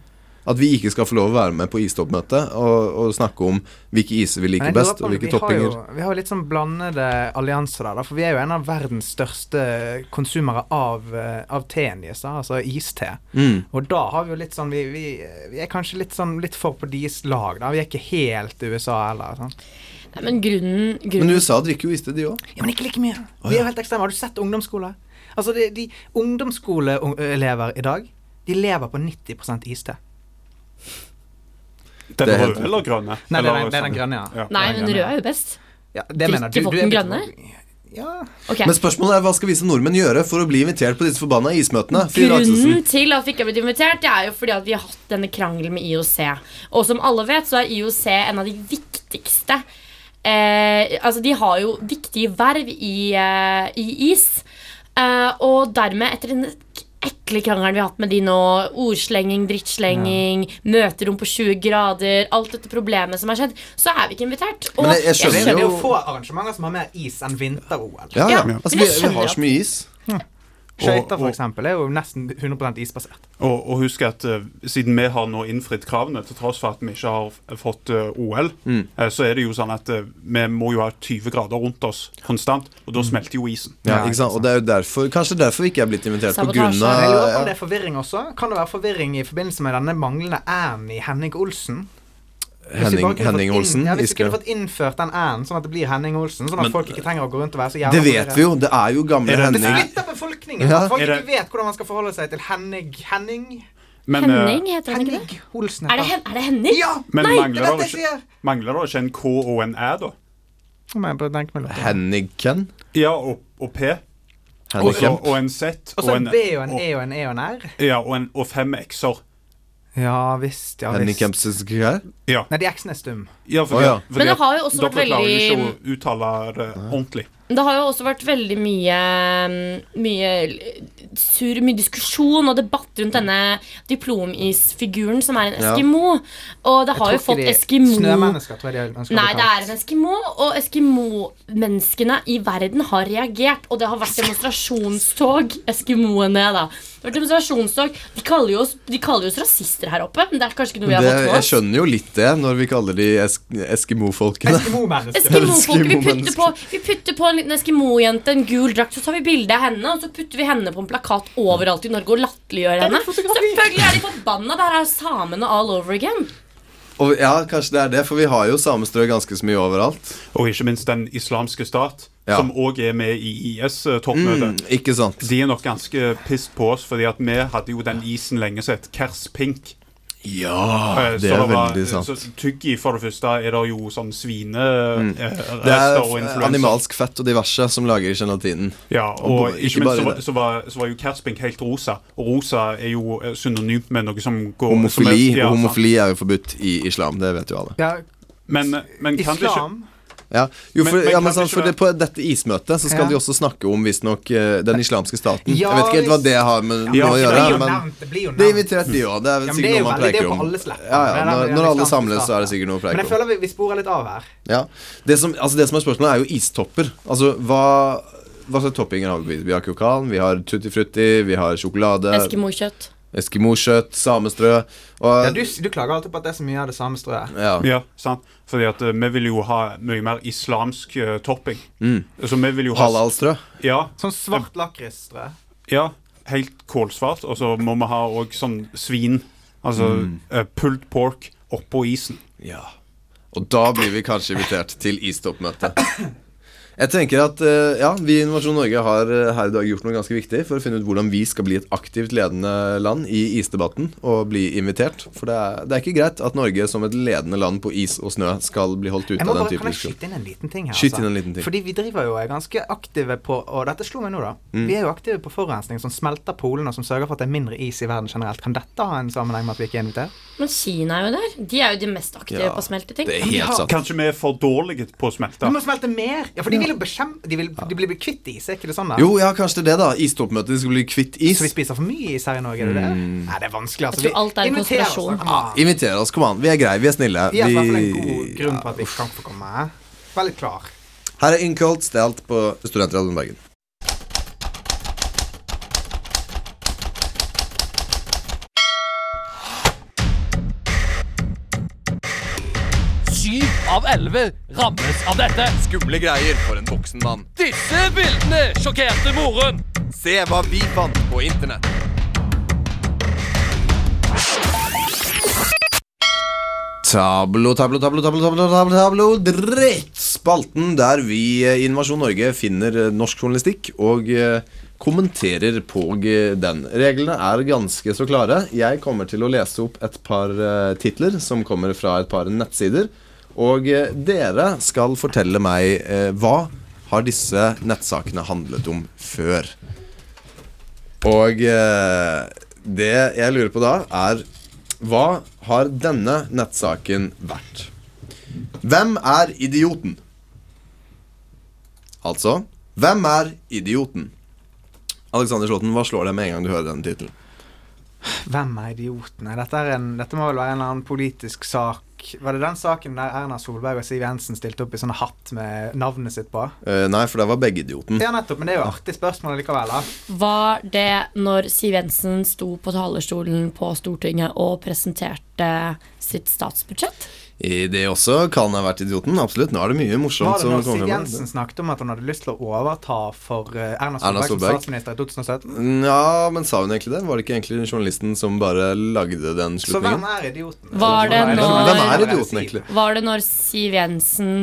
S1: At vi ikke skal få lov å være med på istoppmøtet og, og snakke om hvilke iser vi liker
S3: Men jeg lurer
S1: best,
S3: på om
S1: og hvilke
S3: vi har
S1: toppinger.
S3: jo- Vi har jo litt sånn blandede allianser der, da, for vi er jo en av verdens største konsumere av, eh, av teen deres, da, altså iste.
S1: Mm.
S3: Og da har vi jo litt sånn Vi, vi, vi er kanskje litt sånn litt for på deres lag, da. Vi er ikke helt USA heller. Sånn.
S2: Nei, men grunnen,
S1: Men
S2: grunnen
S1: USA drikker jo iste, de òg.
S3: Ja, men ikke like mye. Vi er jo helt ekstreme. Har du sett ungdomsskole? Altså, de, de ungdomsskoleelever i dag, de lever på 90 iste.
S4: Den
S1: Det er
S4: røde
S1: helt-
S4: eller
S3: Nei,
S4: grønne?
S3: det er den-
S4: Eller
S3: det er den
S4: sånn.
S3: grønne, ja.
S2: Nei, men
S3: den grønne.
S2: rød er jo best.
S3: Ja, det mener du.
S2: Drikker
S3: du
S2: folk den
S3: er-
S2: grønne?
S3: Ja.
S2: Ok.
S1: Men spørsmålet er hva skal vi som nordmenn gjøre for å bli invitert på disse forbanna ismøtene? Frida Akselsen.
S2: Grunnen til at vi ikke har blitt invitert, det er jo fordi at vi har hatt denne krangelen med IOC. Og som alle vet, så er IOC en av de viktigste eh, Altså, de har jo viktige verv i, eh, i is. Eh, og dermed, etter den ekle krangelen vi har hatt med de nå, ordslenging, drittslenging, møterom på 20 grader, alt dette problemet som har skjedd, så er vi ikke invitert. Og
S1: Men jeg- jeg skjønner jo-
S3: Det er jo få arrangementer som har mer is enn vinter-OL.
S1: Ja, ja.
S2: Ja,
S1: Altså,
S2: men
S1: vi,
S2: jeg
S1: vi
S2: skjønner
S1: har så mye is.
S3: Skøyter,
S4: Og- og-
S3: for eksempel, er jo nesten 100 isbasert.
S4: Og, og husk at eh, siden vi har nå innfridd kravene, til tross for at vi ikke har f- fått eh, OL,
S1: Mm.
S4: eh, så er det jo sånn at eh, vi må jo ha 20 grader rundt oss konstant, og da smelter jo isen.
S1: Mm. Ja, ikke sant? Og det er jo derfor, kanskje derfor vi ikke er blitt invitert på grunn
S2: Sabotasje.
S3: Jeg lurer på om
S1: av
S3: det er forvirring også. Kan det være forvirring i forbindelse med denne manglende æren i Henning Olsen? Hvis vi bare
S1: Henning,
S3: kunne fått
S1: Henning
S3: inn-
S1: Olsen.
S3: Ja, Hvis vi
S1: Giske.
S3: kunne fått innført den æren, sånn at det blir Henning Olsen. Sånn at
S1: Men-
S3: folk ikke trenger å gå rundt og være så jævla
S1: Det vet vi jo. Det er jo gamle
S4: Er det-
S3: Det
S1: Henning.
S3: splitter befolkningen.
S1: Ja.
S3: at Folk
S4: Er
S3: ikke
S4: det-
S3: vet hvordan man skal forholde seg til Henning Henning
S4: Men, eh,
S2: Henning heter han ikke det?
S3: Henning Olsen.
S2: Er det, Hen- er det Henning?
S3: Ja!
S4: men
S2: Nei,
S3: Det
S4: mangler,
S3: er dette
S4: det
S3: jeg
S4: ikke,
S3: sier!
S4: mangler det ikke en K og en Æ, da?
S3: Nå må jeg bare tenke meg litt om.
S1: Henniken.
S4: Ja, og, og P. Og, så-
S1: Henniken.
S4: og en Z.
S3: Og så en B og en E og en E og en R.
S4: Ja, og, en, og fem X-er.
S3: Ja visst, ja
S1: Henning
S3: visst.
S1: Kempseskjær.
S4: Ja.
S3: Nei, de X-ene er stum.
S4: ja,
S1: Å,
S4: fordi,
S1: ja.
S4: fordi
S2: Men det
S4: at
S2: har jo også vært
S4: dere klarer jo
S2: veldig-
S4: ikke å uttale det ordentlig.
S2: Det har jo også vært veldig mye mm, Mye sur, mye diskusjon og debatt rundt denne diplomisfiguren som er en
S1: Ja.
S2: eskimo. Og det har jo fått eskimo
S3: Snømennesker, tror jeg de ønsker å
S2: Nei,
S3: bli
S2: det
S3: kalt.
S2: er en eskimo, og eskimo-menneskene i verden har reagert. Og det har vært demonstrasjonstog. [laughs] Eskimoene, da. Det har vært demonstrasjonstog De kaller jo oss, de kaller jo oss rasister her oppe, men det er kanskje ikke noe vi
S1: Det,
S2: har fått med
S1: jeg
S2: oss.
S1: skjønner jo litt det, når vi kaller de esk Eskimo-folkene.
S3: Eskimo-mennesker.
S2: Eskimo-folk, vi, putter på-
S1: Eskimo-mennesker.
S2: vi putter på en liten Eskimo-jente, en gul drakt, så tar vi bilde av henne, og så putter vi henne på en plakat overalt i Norge og latterliggjør henne. Selvfølgelig er de forbanna! Der er jo samene all over again.
S1: Og ja, kanskje det er det, for vi har jo samestrø ganske så mye overalt.
S4: Og ikke minst Den islamske stat,
S1: Ja. Mm.
S4: som òg er med i eh, IS-toppmøtet.
S1: Ikke sant?
S4: De er nok ganske pissed på oss, fordi at vi hadde jo den isen lenge som het Kers Pink.
S1: Ja,
S4: Eh,
S1: det
S4: så
S1: er
S4: var-
S1: veldig sant.
S4: Så tyggi, for det første, er det jo sånn svine... eh,
S1: Mm. Det
S4: rester
S1: er
S4: og
S1: f-
S4: influenser.
S1: animalsk fett og diverse som lager gelatinen.
S4: Ja,
S1: Og
S4: og
S1: bo- ikke
S4: ikke minst
S1: bare
S4: så var,
S1: det.
S4: så, var, så var jo Kers Pink helt rosa. Og rosa er jo eh, synonymt med noe som går som er-
S1: Homofili,
S4: ja, sant.
S1: homofili er jo forbudt i islam, det vet jo alle.
S3: Ja,
S4: Men, men kan det ikke
S3: islam.
S1: Ja, jo,
S4: Men-
S1: for,
S4: men
S1: ja,
S4: kan
S1: men
S4: det
S1: sånn,
S4: ikke
S1: for
S4: være-
S1: det, På dette ismøtet så skal
S3: Ja.
S1: de også snakke om visstnok eh, den islamske staten. jeg
S3: Ja,
S1: vet ikke helt hva
S3: visst.
S1: det har med
S4: Ja,
S1: noe å
S4: det
S1: gjøre.
S4: blir jo
S1: Men
S3: nevnt, det blir jo
S1: det er
S3: nevnt.
S1: invitert, de òg. Det er
S3: Ja,
S1: vel
S3: men det
S1: sikkert
S3: er jo
S1: noe man
S3: veldig- det er
S1: preker
S3: jo
S1: om.
S3: på alles lepper.
S1: Ja, ja,
S3: Det er
S1: når,
S3: den
S1: når alle
S3: islamske
S1: samles, så er det
S3: staten.
S1: sikkert noe å preke
S3: Men jeg
S1: om.
S3: føler vi, vi sporer litt av her.
S1: Ja. Det, som, altså, det som er spørsmålet, er jo istopper. Altså, hva hva slags toppinger har vi? Vi har krokan, vi har tutti frutti, vi har sjokolade,
S2: Eskimo-kjøtt.
S1: eskimoskjøtt, samestrø og
S3: Ja, du, du klager alltid på at det er så mye av det samme strøet.
S1: ja.
S4: Ja, sant. Fordi at eh, vi vil jo ha mye mer islamsk eh, topping.
S1: Mm.
S4: Så vi vil jo ha
S1: Halalstrø.
S4: Ja,
S3: Sånn svart lakrisstrø.
S4: ja helt kålsvart. Og så må vi ha òg sånn svin. Altså eh, pulled pork oppå isen.
S1: Ja. Og da blir vi kanskje invitert til istoppmøtet. Jeg tenker at eh, ja, Vi i Innovasjon Norge har eh, her i dag gjort noe ganske viktig for å finne ut hvordan vi skal bli et aktivt ledende land i isdebatten og bli invitert. For det er, det er ikke greit at Norge som et ledende land på is og snø skal bli holdt ute
S3: Jeg må
S1: av den
S3: bare,
S1: type
S3: kan jeg
S1: diskusjon.
S3: skyte inn en liten ting her? altså?
S1: Skyt inn en liten ting.
S3: Fordi vi driver jo er ganske aktive på Og dette slo meg nå, da.
S1: Mm.
S3: Vi er jo aktive på forurensning som smelter polene, og som sørger for at det er mindre is i verden generelt. Kan dette ha en sammenheng med at vi ikke er invitert?
S2: Men Kina er jo der. De er jo de mest aktive
S1: Ja,
S2: på å smelte ting.
S1: Det er
S3: Ja,
S1: helt sant.
S4: Kanskje vi er for dårlige på å
S3: Vi
S4: smelte.
S3: må smelte mer! Ja, for de vil jo bekjempe De vil de blir kvitt is, er ikke det sånn? da?
S1: Jo, ja, kanskje det er det, da. Istoppmøtet de skal bli kvitt is.
S3: Så vi spiser for mye is her i Norge, er det det?
S1: Mm.
S3: Nei, det er vanskelig, altså.
S2: Jeg tror alt er en
S3: inviterer oss,
S2: konspirasjon.
S3: da. Kom an.
S1: Inviter oss, kom an. Vi er greie, vi er snille.
S3: Vi har i hvert fall en god
S1: Vi...
S3: grunn på at vi ikke kan få komme. Vær litt klar.
S1: Her er Innkalt stelt på Studentradioen Bergen.
S7: Syv av elleve rammes av dette.
S1: Skumle greier for en voksen mann.
S7: Disse bildene sjokkerte moren.
S1: Se hva vi fant på internett. Tablo, tablo, tablo, tablo, tablo, tablo, tablo, dritt! Spalten der vi eh, Innovasjon Norge finner eh, norsk journalistikk og eh, kommenterer på eh, den. Reglene er ganske så klare. Jeg kommer til å lese opp et par eh, titler som kommer fra et par nettsider. Og eh, dere skal fortelle meg eh, hva har disse nettsakene handlet om før. Og eh, det jeg lurer på da, er Hva har denne nettsaken vært? Hvem er idioten? Altså Hvem er idioten? Alexander Slåtten, hva slår deg med en gang du hører den tittelen?
S3: Hvem er idiotene? Dette, er en, dette må vel være en eller annen politisk sak. Var det den saken der Erna Solberg og Siv Jensen stilte opp i sånn hatt med navnet sitt på?
S1: Eh, nei, for det var begge idioten.
S3: Ja, nettopp, men det er jo artig spørsmål likevel. da.
S2: Var det når Siv Jensen sto på talerstolen på Stortinget og presenterte sitt statsbudsjett?
S1: I det også kan ha vært idioten. Absolutt. Nå er det mye morsomt
S3: Var det
S1: som
S3: når
S1: kommer
S3: Siv
S1: frem.
S3: Jensen snakket om at hun hadde lyst til å overta for eh, Erna Solberg,
S1: Erna Solberg.
S3: som statsminister i 2017?
S1: Ja, men sa hun egentlig det? Var det ikke egentlig journalisten som bare lagde den
S3: Så hvem
S1: slutningen?
S3: er idioten?
S2: Var det
S3: Hvem
S2: når-
S1: Hvem er idioten, egentlig?
S2: Var det når Siv Jensen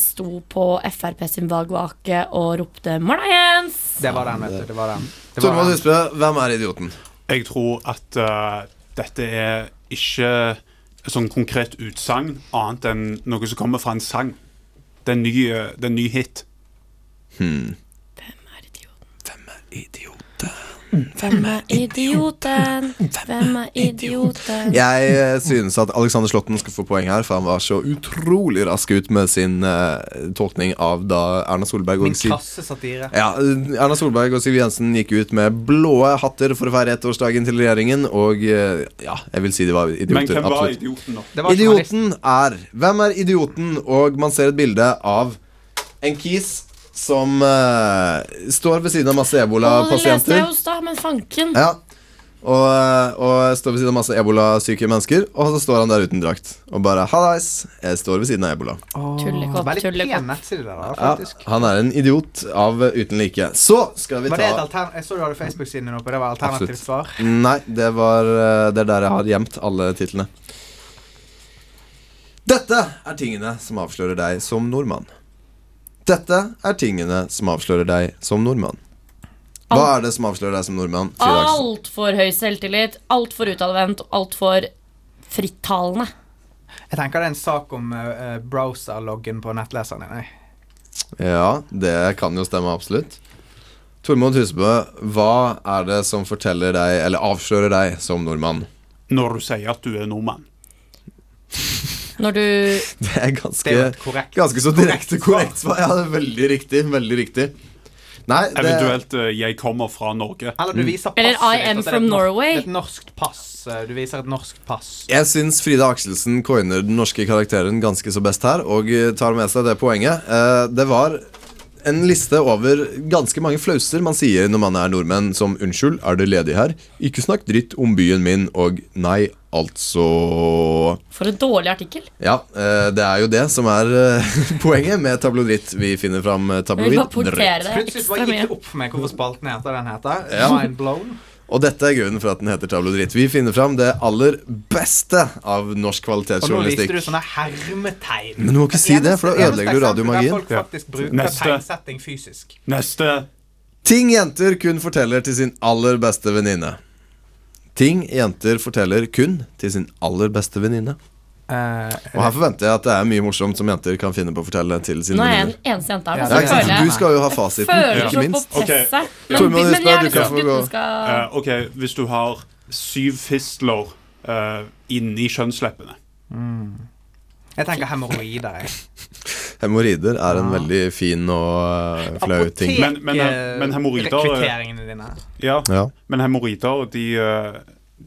S2: sto på Frp sin valgvake og ropte 'Marna Jens'?
S3: Det var den, vet du. Det var den. Det var
S1: Tormod
S3: den.
S1: Husbø, hvem er idioten?
S4: Jeg tror at eh, dette er ikke et sånn konkret utsagn, annet enn noe som kommer fra en sang. Det er en ny, eh, det er en ny hit.
S2: Hvem er idioten? Hvem er idioten? Hvem er idioten?
S1: Jeg eh, synes at Alexander Slåtten skal få poeng her, for han var så utrolig rask ut med sin eh, tolkning av da Erna Solberg og
S3: Min
S1: Siv
S3: klassesatire.
S1: ja, Erna Solberg og Siv Jensen gikk ut med blå hatter for å feire ettårsdagen til regjeringen, og eh, ja, jeg vil si de var idioter.
S4: Men hvem var
S1: absolutt.
S4: idioten, da?
S3: Det var journalisten.
S1: Idioten er Hvem er idioten? Og man ser et bilde av en kis som eh, står ved siden av masse
S2: Å, Det leste
S1: ebolapasienter.
S2: jeg hos da, men fanken.
S1: Ja. Og, eh, og står ved siden av masse ebolasyke mennesker, og så står han der uten drakt. Og bare 'hallais, jeg står ved siden av ebola'.
S2: Tullekopp,
S3: Veldig pen
S2: tullekopp.
S3: nettside der, da,
S1: Ja,
S3: faktisk.
S1: han er en idiot av uten like. Så skal vi
S3: Var det et
S1: ta
S3: altern... Jeg så du hadde Facebook-siden din oppe, det var alternativt svar.
S1: Nei, det, var, eh, det er der jeg har gjemt alle titlene. Dette er tingene som avslører deg som nordmann. Dette er tingene som avslører deg som nordmann. Hva er det som avslører deg som nordmann? Frida Aksel?
S2: Altfor høy selvtillit, altfor utadvendt, altfor frittalende.
S3: Jeg tenker det er en sak om eh, eh, browser-loggen på nettleseren din. jeg.
S1: Ja, det kan jo stemme absolutt. Tormod Husebø, hva er det som forteller deg, eller avslører deg, som nordmann? [laughs]
S4: Når du sier at du er nordmann.
S2: Når du
S1: Det er
S3: Det
S1: ganske,
S3: er jo et korrekt
S1: ganske så direkte korrekt svar. Ja, det er veldig riktig. Veldig riktig. Nei, det,
S4: Eventuelt eh, 'jeg kommer fra Norge'.
S3: Eller du viser
S2: Eller
S3: passet ditt,
S2: I am
S3: at det er
S2: from
S3: et norsk-
S2: Norway.
S3: det er Et norskt pass. eh, Du viser et norsk pass.
S1: jeg syns Frida Akselsen coiner den norske karakteren ganske så best her, og eh, tar med seg det poenget. Eh, Det var en liste over ganske mange flauser man sier når man er nordmenn, som 'unnskyld, er det ledig her', 'ikke snakk dritt om byen min', og 'nei, altså'
S2: For en dårlig artikkel.
S1: Ja, eh, det er jo det som er eh, [laughs] poenget med tabloidritt. Vi finner fram eh,
S2: Jeg vil bare
S1: tabloid dritt.
S2: portere det
S3: Plutselig
S2: ekstra
S3: bare gikk
S2: mye.
S3: det opp for meg hvorfor spalten heter det den heter.
S1: Ja.
S3: Mind blown.
S1: Og dette er grunnen for at den heter tabloidritt. Vi finner fram det aller beste av norsk
S3: Og nå viste du
S1: kvalitetsjournalistikk.
S3: sånne hermetegn.
S1: Men du må ikke si det, for da
S3: Eneste- eneste
S1: ødelegger du
S3: eksempel der
S1: radiomagien.
S3: Folk
S4: Ja.
S3: faktisk bruker
S4: Neste.
S3: tegnsetting fysisk.
S4: Neste.
S1: Ting jenter kun forteller til sin aller beste venninne. Ting jenter forteller kun til sin aller beste venninne.
S3: Eh,
S1: Og her forventer jeg at det er mye morsomt som jenter kan finne på å fortelle til sine
S2: Nå er jeg
S1: venninner.
S2: den eneste jenta her.
S3: Ja,
S2: men
S1: Ja,
S2: så
S1: ikke
S2: føler
S1: sant?
S2: jeg
S1: Du skal jo ha fasiten,
S2: Føler så
S1: ikke
S2: på
S1: minst.
S2: presset. Men,
S1: Tormund
S2: men jeg
S1: Husbø,
S2: har
S1: du
S2: lyst til
S1: kan
S2: at
S1: få gå.
S2: guttene skal
S4: Eh, OK, hvis du har syv fistler eh, inni kjønnsleppene
S3: Jeg tenker hemoroider, jeg.
S1: Hemoroider er en veldig fin og eh, flau ting.
S4: Men- men- men hemoroider-
S3: eh, Rekrutteringene dine.
S4: Ja,
S1: Ja.
S4: men hemoroider, de, eh,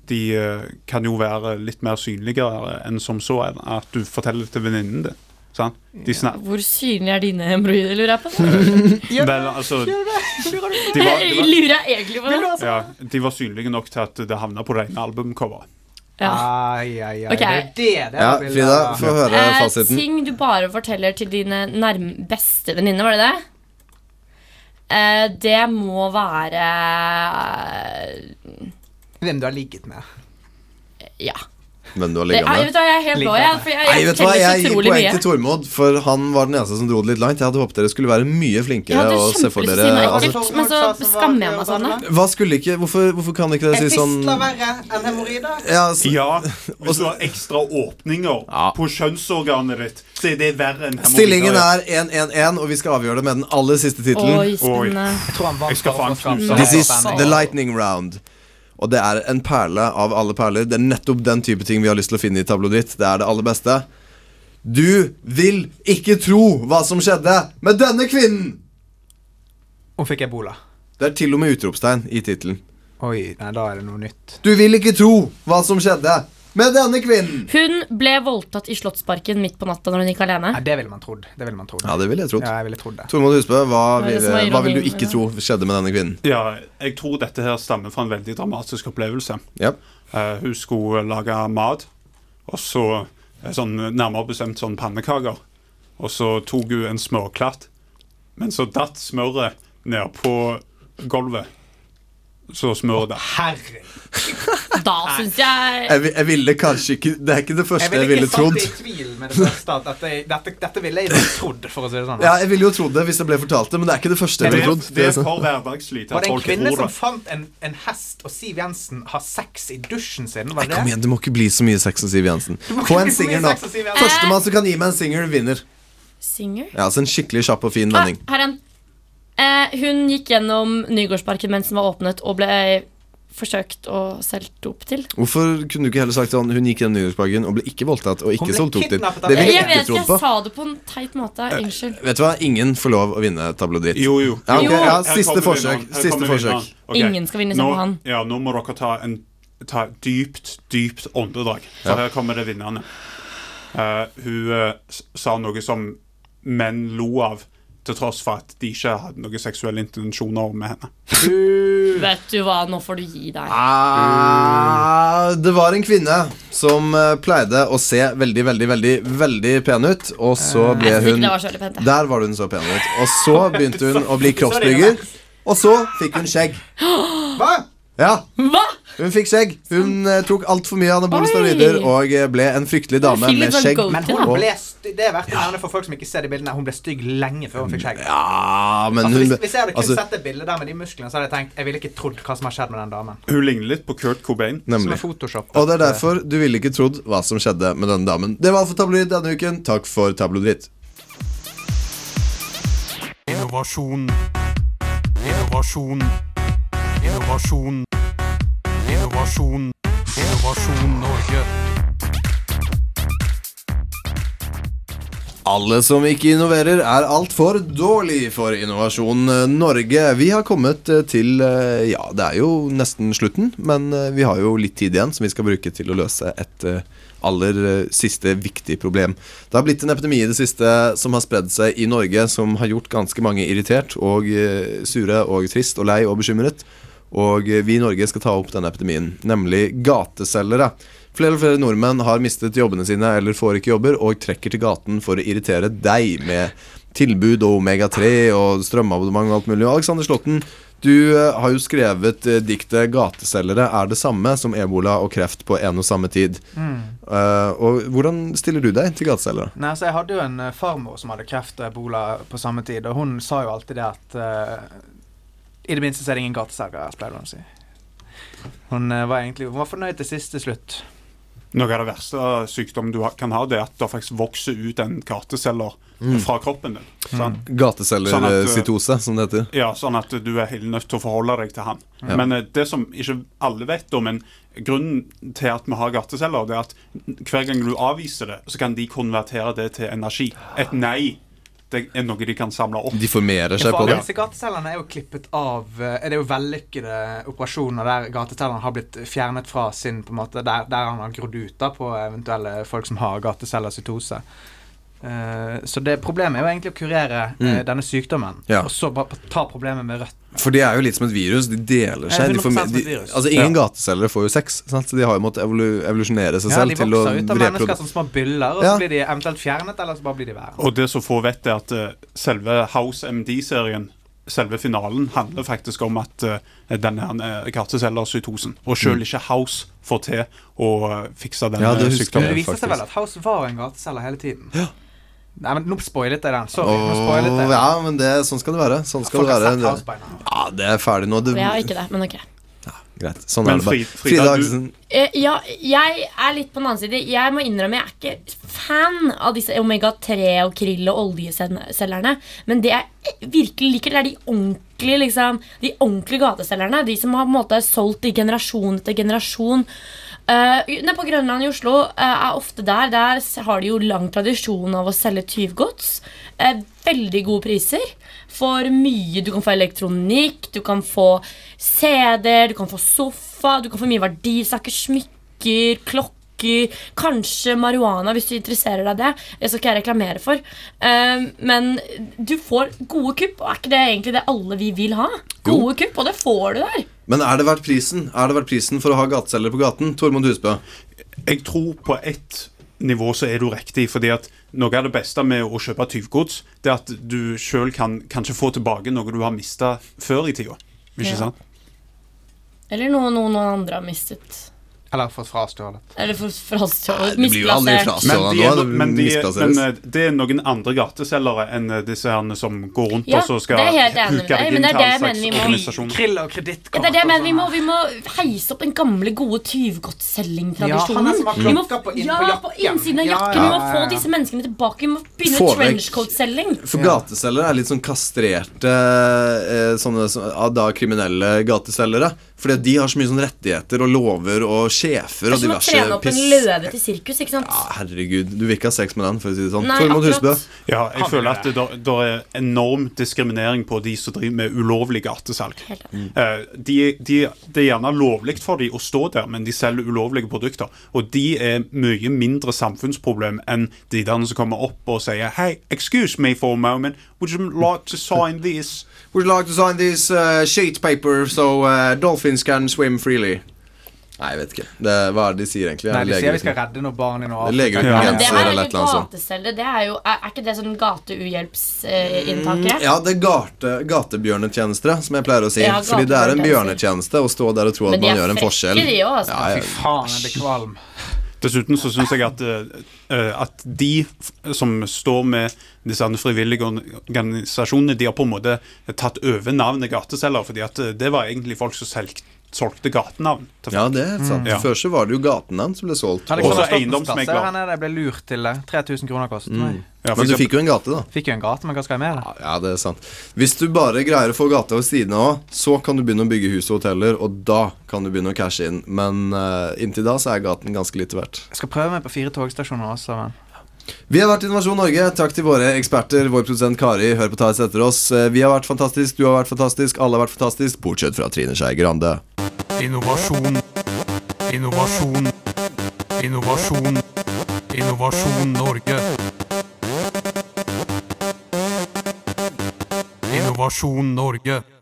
S4: de eh, kan jo være litt mer synligere enn som så, enn at du forteller det til venninnen din. Sant? De snak-
S2: Hvor synlige er dine hemoroider, lurer jeg [laughs] på?
S4: Vel, altså, de
S3: Lurer
S2: [laughs]
S3: du-
S4: var, de var,
S2: lurer jeg egentlig på det?
S4: ja, de var synlige nok til at det havna på det ene albumcoveret.
S2: Ja.
S3: Ai, ai, ai.
S2: Ok.
S3: Det er det det
S1: Ja,
S3: bildet
S1: Frida,
S3: var.
S1: få høre
S2: Eh,
S1: fasiten.
S2: ting du bare forteller til dine nærm beste venninner, var det det? Eh, det må være eh,
S3: Hvem du har ligget med.
S2: Ja.
S1: Hvem du har
S2: Det,
S1: ligget
S2: jeg, vet
S1: med.
S2: du, hva, jeg er helt blå, jeg. For jeg,
S1: Nei,
S2: jeg
S1: vet du hva,
S2: forteller
S1: Jeg
S2: så
S1: gir
S2: utrolig
S1: poeng
S2: mye.
S1: til Tormod, for han var den eneste som dro det litt langt. Jeg hadde håpet dere skulle være mye
S2: Jeg
S1: flinkere.
S2: hadde
S1: Og se for
S2: kjempelyst til å
S1: dere
S2: si noe
S1: altså,
S2: ekkelt, men så skammer jeg meg sånn. da.
S1: Hva skulle ikke Hvorfor, hvorfor kan ikke dere si sånn
S3: Fistler verre enn hemoroider.
S1: ja, s-
S4: Ja, hvis du har ekstra åpninger
S1: Ja.
S4: på kjønnsorganet ditt, så er det verre enn hemoroider.
S1: Stillingen er 1-1-1, og vi skal avgjøre det med den aller siste tittelen.
S2: Oi, spennende.
S3: Jeg tror han vant
S4: Jeg skal
S3: for
S4: faen
S3: å skape
S4: knuse
S1: This is
S3: spenning.
S1: the lightning round. Og det er en perle av alle perler. Det er nettopp den type ting vi har lyst til å finne i tabloiditt. Det er det aller beste. Du vil ikke tro hva som skjedde med denne kvinnen!
S3: Hun fikk ebola.
S1: Det er til og med utropstegn i tittelen.
S3: Oi, nei, da er det noe nytt.
S1: Du vil ikke tro hva som skjedde med denne kvinnen!
S2: Hun ble voldtatt i Slottsparken midt på natta når hun gikk alene.
S3: Nei, det ville man trodd. Det ville man trodd.
S1: Ja, det ville jeg trodd.
S3: Ja, jeg ville trodd det.
S1: Tormod Husbø, hva
S2: Hva er det
S1: vil,
S2: som er
S1: hva vil du
S2: ironien,
S1: ikke
S2: ja?
S1: tro skjedde med denne kvinnen?
S4: Ja, jeg tror dette her stammer fra en veldig dramatisk opplevelse.
S1: Ja.
S4: Eh, hun skulle lage mat, og så eh, sånn, nærmere bestemt sånn pannekaker. Og så tok hun en smørklatt, men så datt smøret ned på gulvet. Så smøret datt.
S3: Herregud.
S2: Da syns jeg
S1: Jeg, vi- jeg ville kanskje ikke Det er ikke det første jeg ville
S3: ikke satt
S1: trodd.
S3: det i tvil med det første at dette, dette, dette ville jeg ikke trodd, for å si det sånn.
S1: Ja, jeg ville jo trodd det hvis jeg ble fortalt det, men det er ikke det første jeg
S4: Det,
S1: ville trodd.
S4: det
S1: Det
S4: er
S1: er sånn- sant.
S4: for hverdagslig til
S3: Var
S4: at
S3: det en
S4: folk
S3: kvinne
S4: tror
S3: som
S4: det.
S3: fant en, en hest og Siv Jensen har sex i dusjen sin? Var
S1: Nei,
S3: det
S1: kom
S3: det?
S1: igjen, det må ikke bli så mye sex og Siv Jensen.
S3: må
S1: Få
S3: ikke
S1: en
S3: bli så mye
S1: singer nå.
S3: sex og Siv Jensen.
S1: Førstemann som kan gi meg en singer, vinner.
S2: Singer?
S1: Ja, altså En skikkelig kjapp og fin vending.
S2: Ah, her er en. Eh, hun gikk gjennom Nygårdsparken mens den var åpnet, og ble forsøkt og solgt dop til.
S1: Hvorfor kunne du ikke heller sagt sånn hun gikk gjennom Nyhetsparken og ble ikke voldtatt og ikke
S3: ble
S1: solgt opp til?
S3: kidnappet av
S1: Det ville
S2: Jeg
S1: jeg ikke
S2: vet ikke,
S1: trodd
S2: jeg
S1: på. Eh,
S2: sa det på en teit måte. Unnskyld.
S1: Vet du hva, ingen får lov å vinne tabloiditt.
S4: Jo, jo.
S1: Ja, ok,
S2: Jo.
S1: ja,
S4: Her
S1: siste
S4: kommer
S1: forsøk.
S4: vinneren. Her
S1: Siste
S4: kommer
S1: forsøk.
S4: vinneren. Ok.
S2: Ingen skal vinne som
S4: Nå-
S2: på han.
S4: Ja, nå må dere ta en ta et dypt, dypt åndedrag. For
S1: Ja.
S4: her kommer det vinnerne. Eh, hun eh, s- sa noe som menn lo av, til tross for at de ikke hadde noen seksuelle intensjoner med henne.
S1: uh.
S2: Vet du hva, nå får du gi deg.
S1: Ah, det var en kvinne som eh, pleide å se veldig, veldig, veldig veldig pen ut, og så ble
S2: Ah. Jeg synes ikke
S1: hun
S2: det var så veldig pent. jeg.
S1: Der var hun så pen ut. Og så begynte hun å bli kroppsbygger, og så fikk hun skjegg.
S3: Hva?
S1: Ja,
S2: Hva?
S1: hun fikk skjegg. Hun eh, tok altfor mye anabole
S2: Oi.
S1: steroider og eh, ble en fryktelig dame
S2: Philip
S1: med
S2: van
S1: skjegg.
S2: Gogh.
S3: Men hun ble st det er verdt å nevne for folk som ikke ser de bildene. Hun ble stygg lenge før hun fikk skjegg.
S1: Ja, ah, men
S3: Altså,
S1: hun
S3: hvis, hvis jeg hadde kun
S1: altså,
S3: sett det bildet der med de musklene, så hadde jeg tenkt Jeg ville ikke trodd hva som har skjedd med den damen.
S4: Hun ligner litt på Kurt Cobain.
S3: Som
S1: Nemlig.
S3: er Photoshop.
S1: Og det er derfor du ville ikke trodd hva som skjedde med denne damen. Det var alt for Tabloid denne uken. Takk for Tabloidritt.
S9: Innovasjon. Innovasjon. Innovasjon. Innovasjon. Innovasjon Norge.
S1: Alle som ikke innoverer, er altfor dårlig for Innovasjon Norge. Vi har kommet eh, til eh, Ja, det er jo nesten slutten, men eh, vi har jo litt tid igjen som vi skal bruke til å løse et eh, aller eh, siste viktig problem. Det har blitt en epidemi i det siste som har spredd seg i Norge, som har gjort ganske mange irritert og eh, sure og trist og lei og bekymret. Og eh, vi i Norge skal ta opp denne epidemien, nemlig gateselgere. Flere og flere nordmenn har mistet jobbene sine eller får ikke jobber, og trekker til gaten for å irritere deg med tilbud og Omega-3 og strømabonnement og alt mulig. Og Alexander Slåtten, du eh, har jo skrevet eh, diktet 'Gateselgere er det samme som ebola og kreft på en og samme tid'.
S3: Mm.
S1: Eh, og hvordan stiller du deg til gateselgere?
S3: Nei, så Jeg hadde jo en eh, farmor som hadde kreft og ebola på samme tid, og hun sa jo alltid det at eh, I det minste så er det ingen gateselgere her, pleide hun å si. Hun eh, var egentlig Hun var fornøyd til siste slutt.
S4: Noe av det verste sykdommen du ha- kan ha, det er at det faktisk vokser ut en karteceller
S1: Mm.
S4: fra kroppen din. Sant? Sånn at, eh,
S1: Gateselgercytose, som det heter.
S4: Ja, sånn at du er helt nødt til å forholde deg til han. Men eh, det som ikke alle vet om, men grunnen til at vi har gatteceller, det er at hver gang du avviser det, så kan de konvertere det til energi. Et nei det er noe de kan samle opp.
S1: De formerer seg
S3: For
S1: på det.
S3: alle disse gatecellene er jo klippet av eh, Det er jo vellykkede operasjoner der gatetelleren har blitt fjernet fra sin på en måte, Der, der han har grodd ut da på eventuelle folk som har gatecellercytose. Eh, så det problemet er jo egentlig å kurere eh, denne sykdommen,
S1: Mm. Ja.
S3: og så bare ta problemet med rødt.
S1: For de er jo litt som et virus. De deler seg. De får,
S3: 100% som
S1: de,
S3: et virus.
S1: altså Ingen gateselgere får jo sex. Sant? De har jo måttet evolu evolusjonere seg
S3: Ja,
S1: selv
S3: de
S1: til å
S3: vokser ut av mennesker
S1: reprodu-
S3: som små byller, og
S1: Ja.
S3: så blir de eventuelt fjernet, eller så bare blir de værende.
S4: Og det som få vet, er at eh, selve House MD-serien, selve finalen, handler faktisk om at eh, denne her kartecellercytosen. Og selv ikke House får til å eh, fikse denne
S1: Mm. Ja, det husker
S3: Men
S4: sykdommen.
S1: jeg.
S3: det viste
S1: faktisk.
S3: seg vel at House var en gateselger hele tiden. Nei, men nå spoilet jeg den. Sorry. nå spoilet
S1: Åh,
S3: jeg den.
S1: ja, men det, sånn skal det være. Sånn skal
S3: Folk
S1: det
S3: har
S1: være.
S3: sett House by now.
S1: Ja, det er ferdig nå. Det,
S2: Jeg har ikke det, men ok.
S1: Greit. Sånn
S4: Men
S1: er det bare.
S4: Fri- Frida,
S1: Frida
S4: du-
S1: Aksen.
S2: Eh, ja, jeg er litt på den annen side. Jeg må innrømme jeg er ikke fan av disse omega-3 og krill og oljeselgerne. Men det jeg virkelig liker, det er de ordentlige, liksom, de ordentlige gateselgerne. De som har på en måte solgt i generasjon etter generasjon. Eh, nede på Grønland i Oslo eh, er ofte der. Der s- har de jo lang tradisjon av å selge tyvgods. Eh, veldig gode priser. For mye. Du kan få elektronikk, du kan få CD-er, du kan få sofa, du kan få mye verdisaker, smykker, klokker Kanskje marihuana, hvis du interesserer deg det. Det skal ikke jeg reklamere for. Eh, men du får gode kupp, og er ikke det egentlig det alle vi vil ha? Gode kupp, og det får du der.
S1: Men er det verdt prisen? Er det verdt prisen for å ha gateselgere på gaten? Tormod Husbø.
S4: Jeg tror på ett nivå så er du riktig, fordi at noe av det beste med å kjøpe tyvgods, det er at du sjøl kan kanskje få tilbake noe du har mista før i tida. Ikke
S2: Ja.
S4: sant?
S2: Eller noe noen, noen andre har mistet.
S3: Eller fått frastjålet.
S2: Eller for, for oss til
S1: Nei,
S2: å
S1: det blir jo aldri
S2: misplassere.
S1: frastjålet
S4: de
S1: nå.
S4: er,
S1: det
S4: men, de,
S1: misplasseres.
S4: men eh, det er noen andre gateselgere enn eh, disse herne som går rundt
S2: Ja,
S4: og så skal
S2: det er helt enig med deg, men det er det jeg mener vi må-
S4: organisasjoner.
S3: Krill og
S2: Ja,
S3: kredittkort.
S2: det er det, men
S3: og
S2: vi
S3: sånn
S2: må,
S3: her.
S2: vi må heise opp den gamle, gode
S3: Ja, han
S2: tyvgodtselging-tradisjonen.
S3: er som har
S2: Vi må-
S3: klokka på inn-
S2: ja,
S3: på jakken.
S2: på innsiden av
S3: Ja,
S2: jakken.
S3: ja,
S2: Vi må
S3: ja,
S2: få
S3: ja.
S2: disse menneskene tilbake. Vi må begynne
S1: Få
S2: med
S1: vekk-
S2: trenchcoat-selging.
S1: For gateselgere er litt sånn kastrerte eh, sånne som, ah, da kriminelle gateselgere. Fordi at de har så mye sånn rettigheter og lover og sjefer
S2: Det
S1: og
S2: er som å
S1: diverse
S2: trene opp en
S1: piss.
S2: løve til sirkus, ikke sant?
S1: Ja, herregud, du vil ikke ha sex med den, for å si det sånn.
S2: Nei,
S1: Tormod Husbø.
S2: akkurat.
S4: Ja, jeg
S3: Kan
S4: føler
S3: vi
S4: at det der- der er enorm diskriminering på de som driver med ulovlig gatesalg.
S2: Helt
S4: Eh, de, de, det er gjerne lovlig for de å stå der, men de selger ulovlige produkter. Og de er mye mindre samfunnsproblem enn de der som kommer opp og sier Hei, excuse me for a moment, would you like to sign this?
S1: Would you like to sign this uh, sheet paper so uh, dolphins can swim freely? Nei, jeg vet ikke. Det, hva er det de sier, egentlig?
S3: Nei,
S1: Er det
S3: de sier vi skal
S1: leger-
S3: redde noen barn i noe
S1: Det er leger uten
S4: Ja,
S2: Men det
S1: grenser
S2: her er
S1: eller et
S2: ikke
S1: eller annet sånt.
S2: gateselger. Det er, jo, er, er ikke det sånn gateuhjelpsinntaket?
S1: Ja, det er gate, gatebjørnetjenester, som jeg pleier å si.
S2: Ja,
S1: Fordi det er en
S2: gatebjørnetjenester.
S1: bjørnetjeneste å stå der og tro at
S2: Men de
S1: man
S2: er
S1: gjør en
S2: frekke,
S1: forskjell.
S2: de òg, altså.
S1: Ja, ja.
S3: Fy faen, jeg blir kvalm.
S4: Dessuten så syns jeg at, eh, eh, at de f- som står med disse andre frivillige organ- organisasjonene, de har på en måte tatt over navnet gateselger, fordi at eh, det var egentlig folk som selg- solgte gatenavn. til
S1: ja, det er helt sant.
S4: Ja.
S1: Før så var det jo gatenavn som ble solgt.
S3: Men det
S4: Også
S3: kommer
S4: eiendomsmegler.
S3: ståplasser her nede, Jeg ble lurt til det. 3000 kroner kostet
S1: Mm.
S3: meg.
S4: Ja, for
S1: Men du
S4: eksempel-
S1: fikk jo en gate, da.
S3: Fikk jo en gate, men hva skal jeg med det?
S1: Ja, det er sant. Hvis du bare greier å få gata ved siden av òg, så kan du begynne å bygge hus og hoteller, og da kan du begynne å cashe inn. Men eh, inntil da så er gaten ganske lite verdt.
S3: Jeg skal prøve meg på fire togstasjoner også, men
S1: Vi har vært Innovasjon Norge. Takk til våre eksperter, vår produsent Kari. Hør på Theis etter oss. Eh, Vi har vært fantastisk, du har vært fantastisk, alle har vært fantastisk, bortsett fra Trine Skei Grande.
S9: Innovasjon. Innovasjon. Innovasjon. Innovasjon Norge. Innovasjon Norge.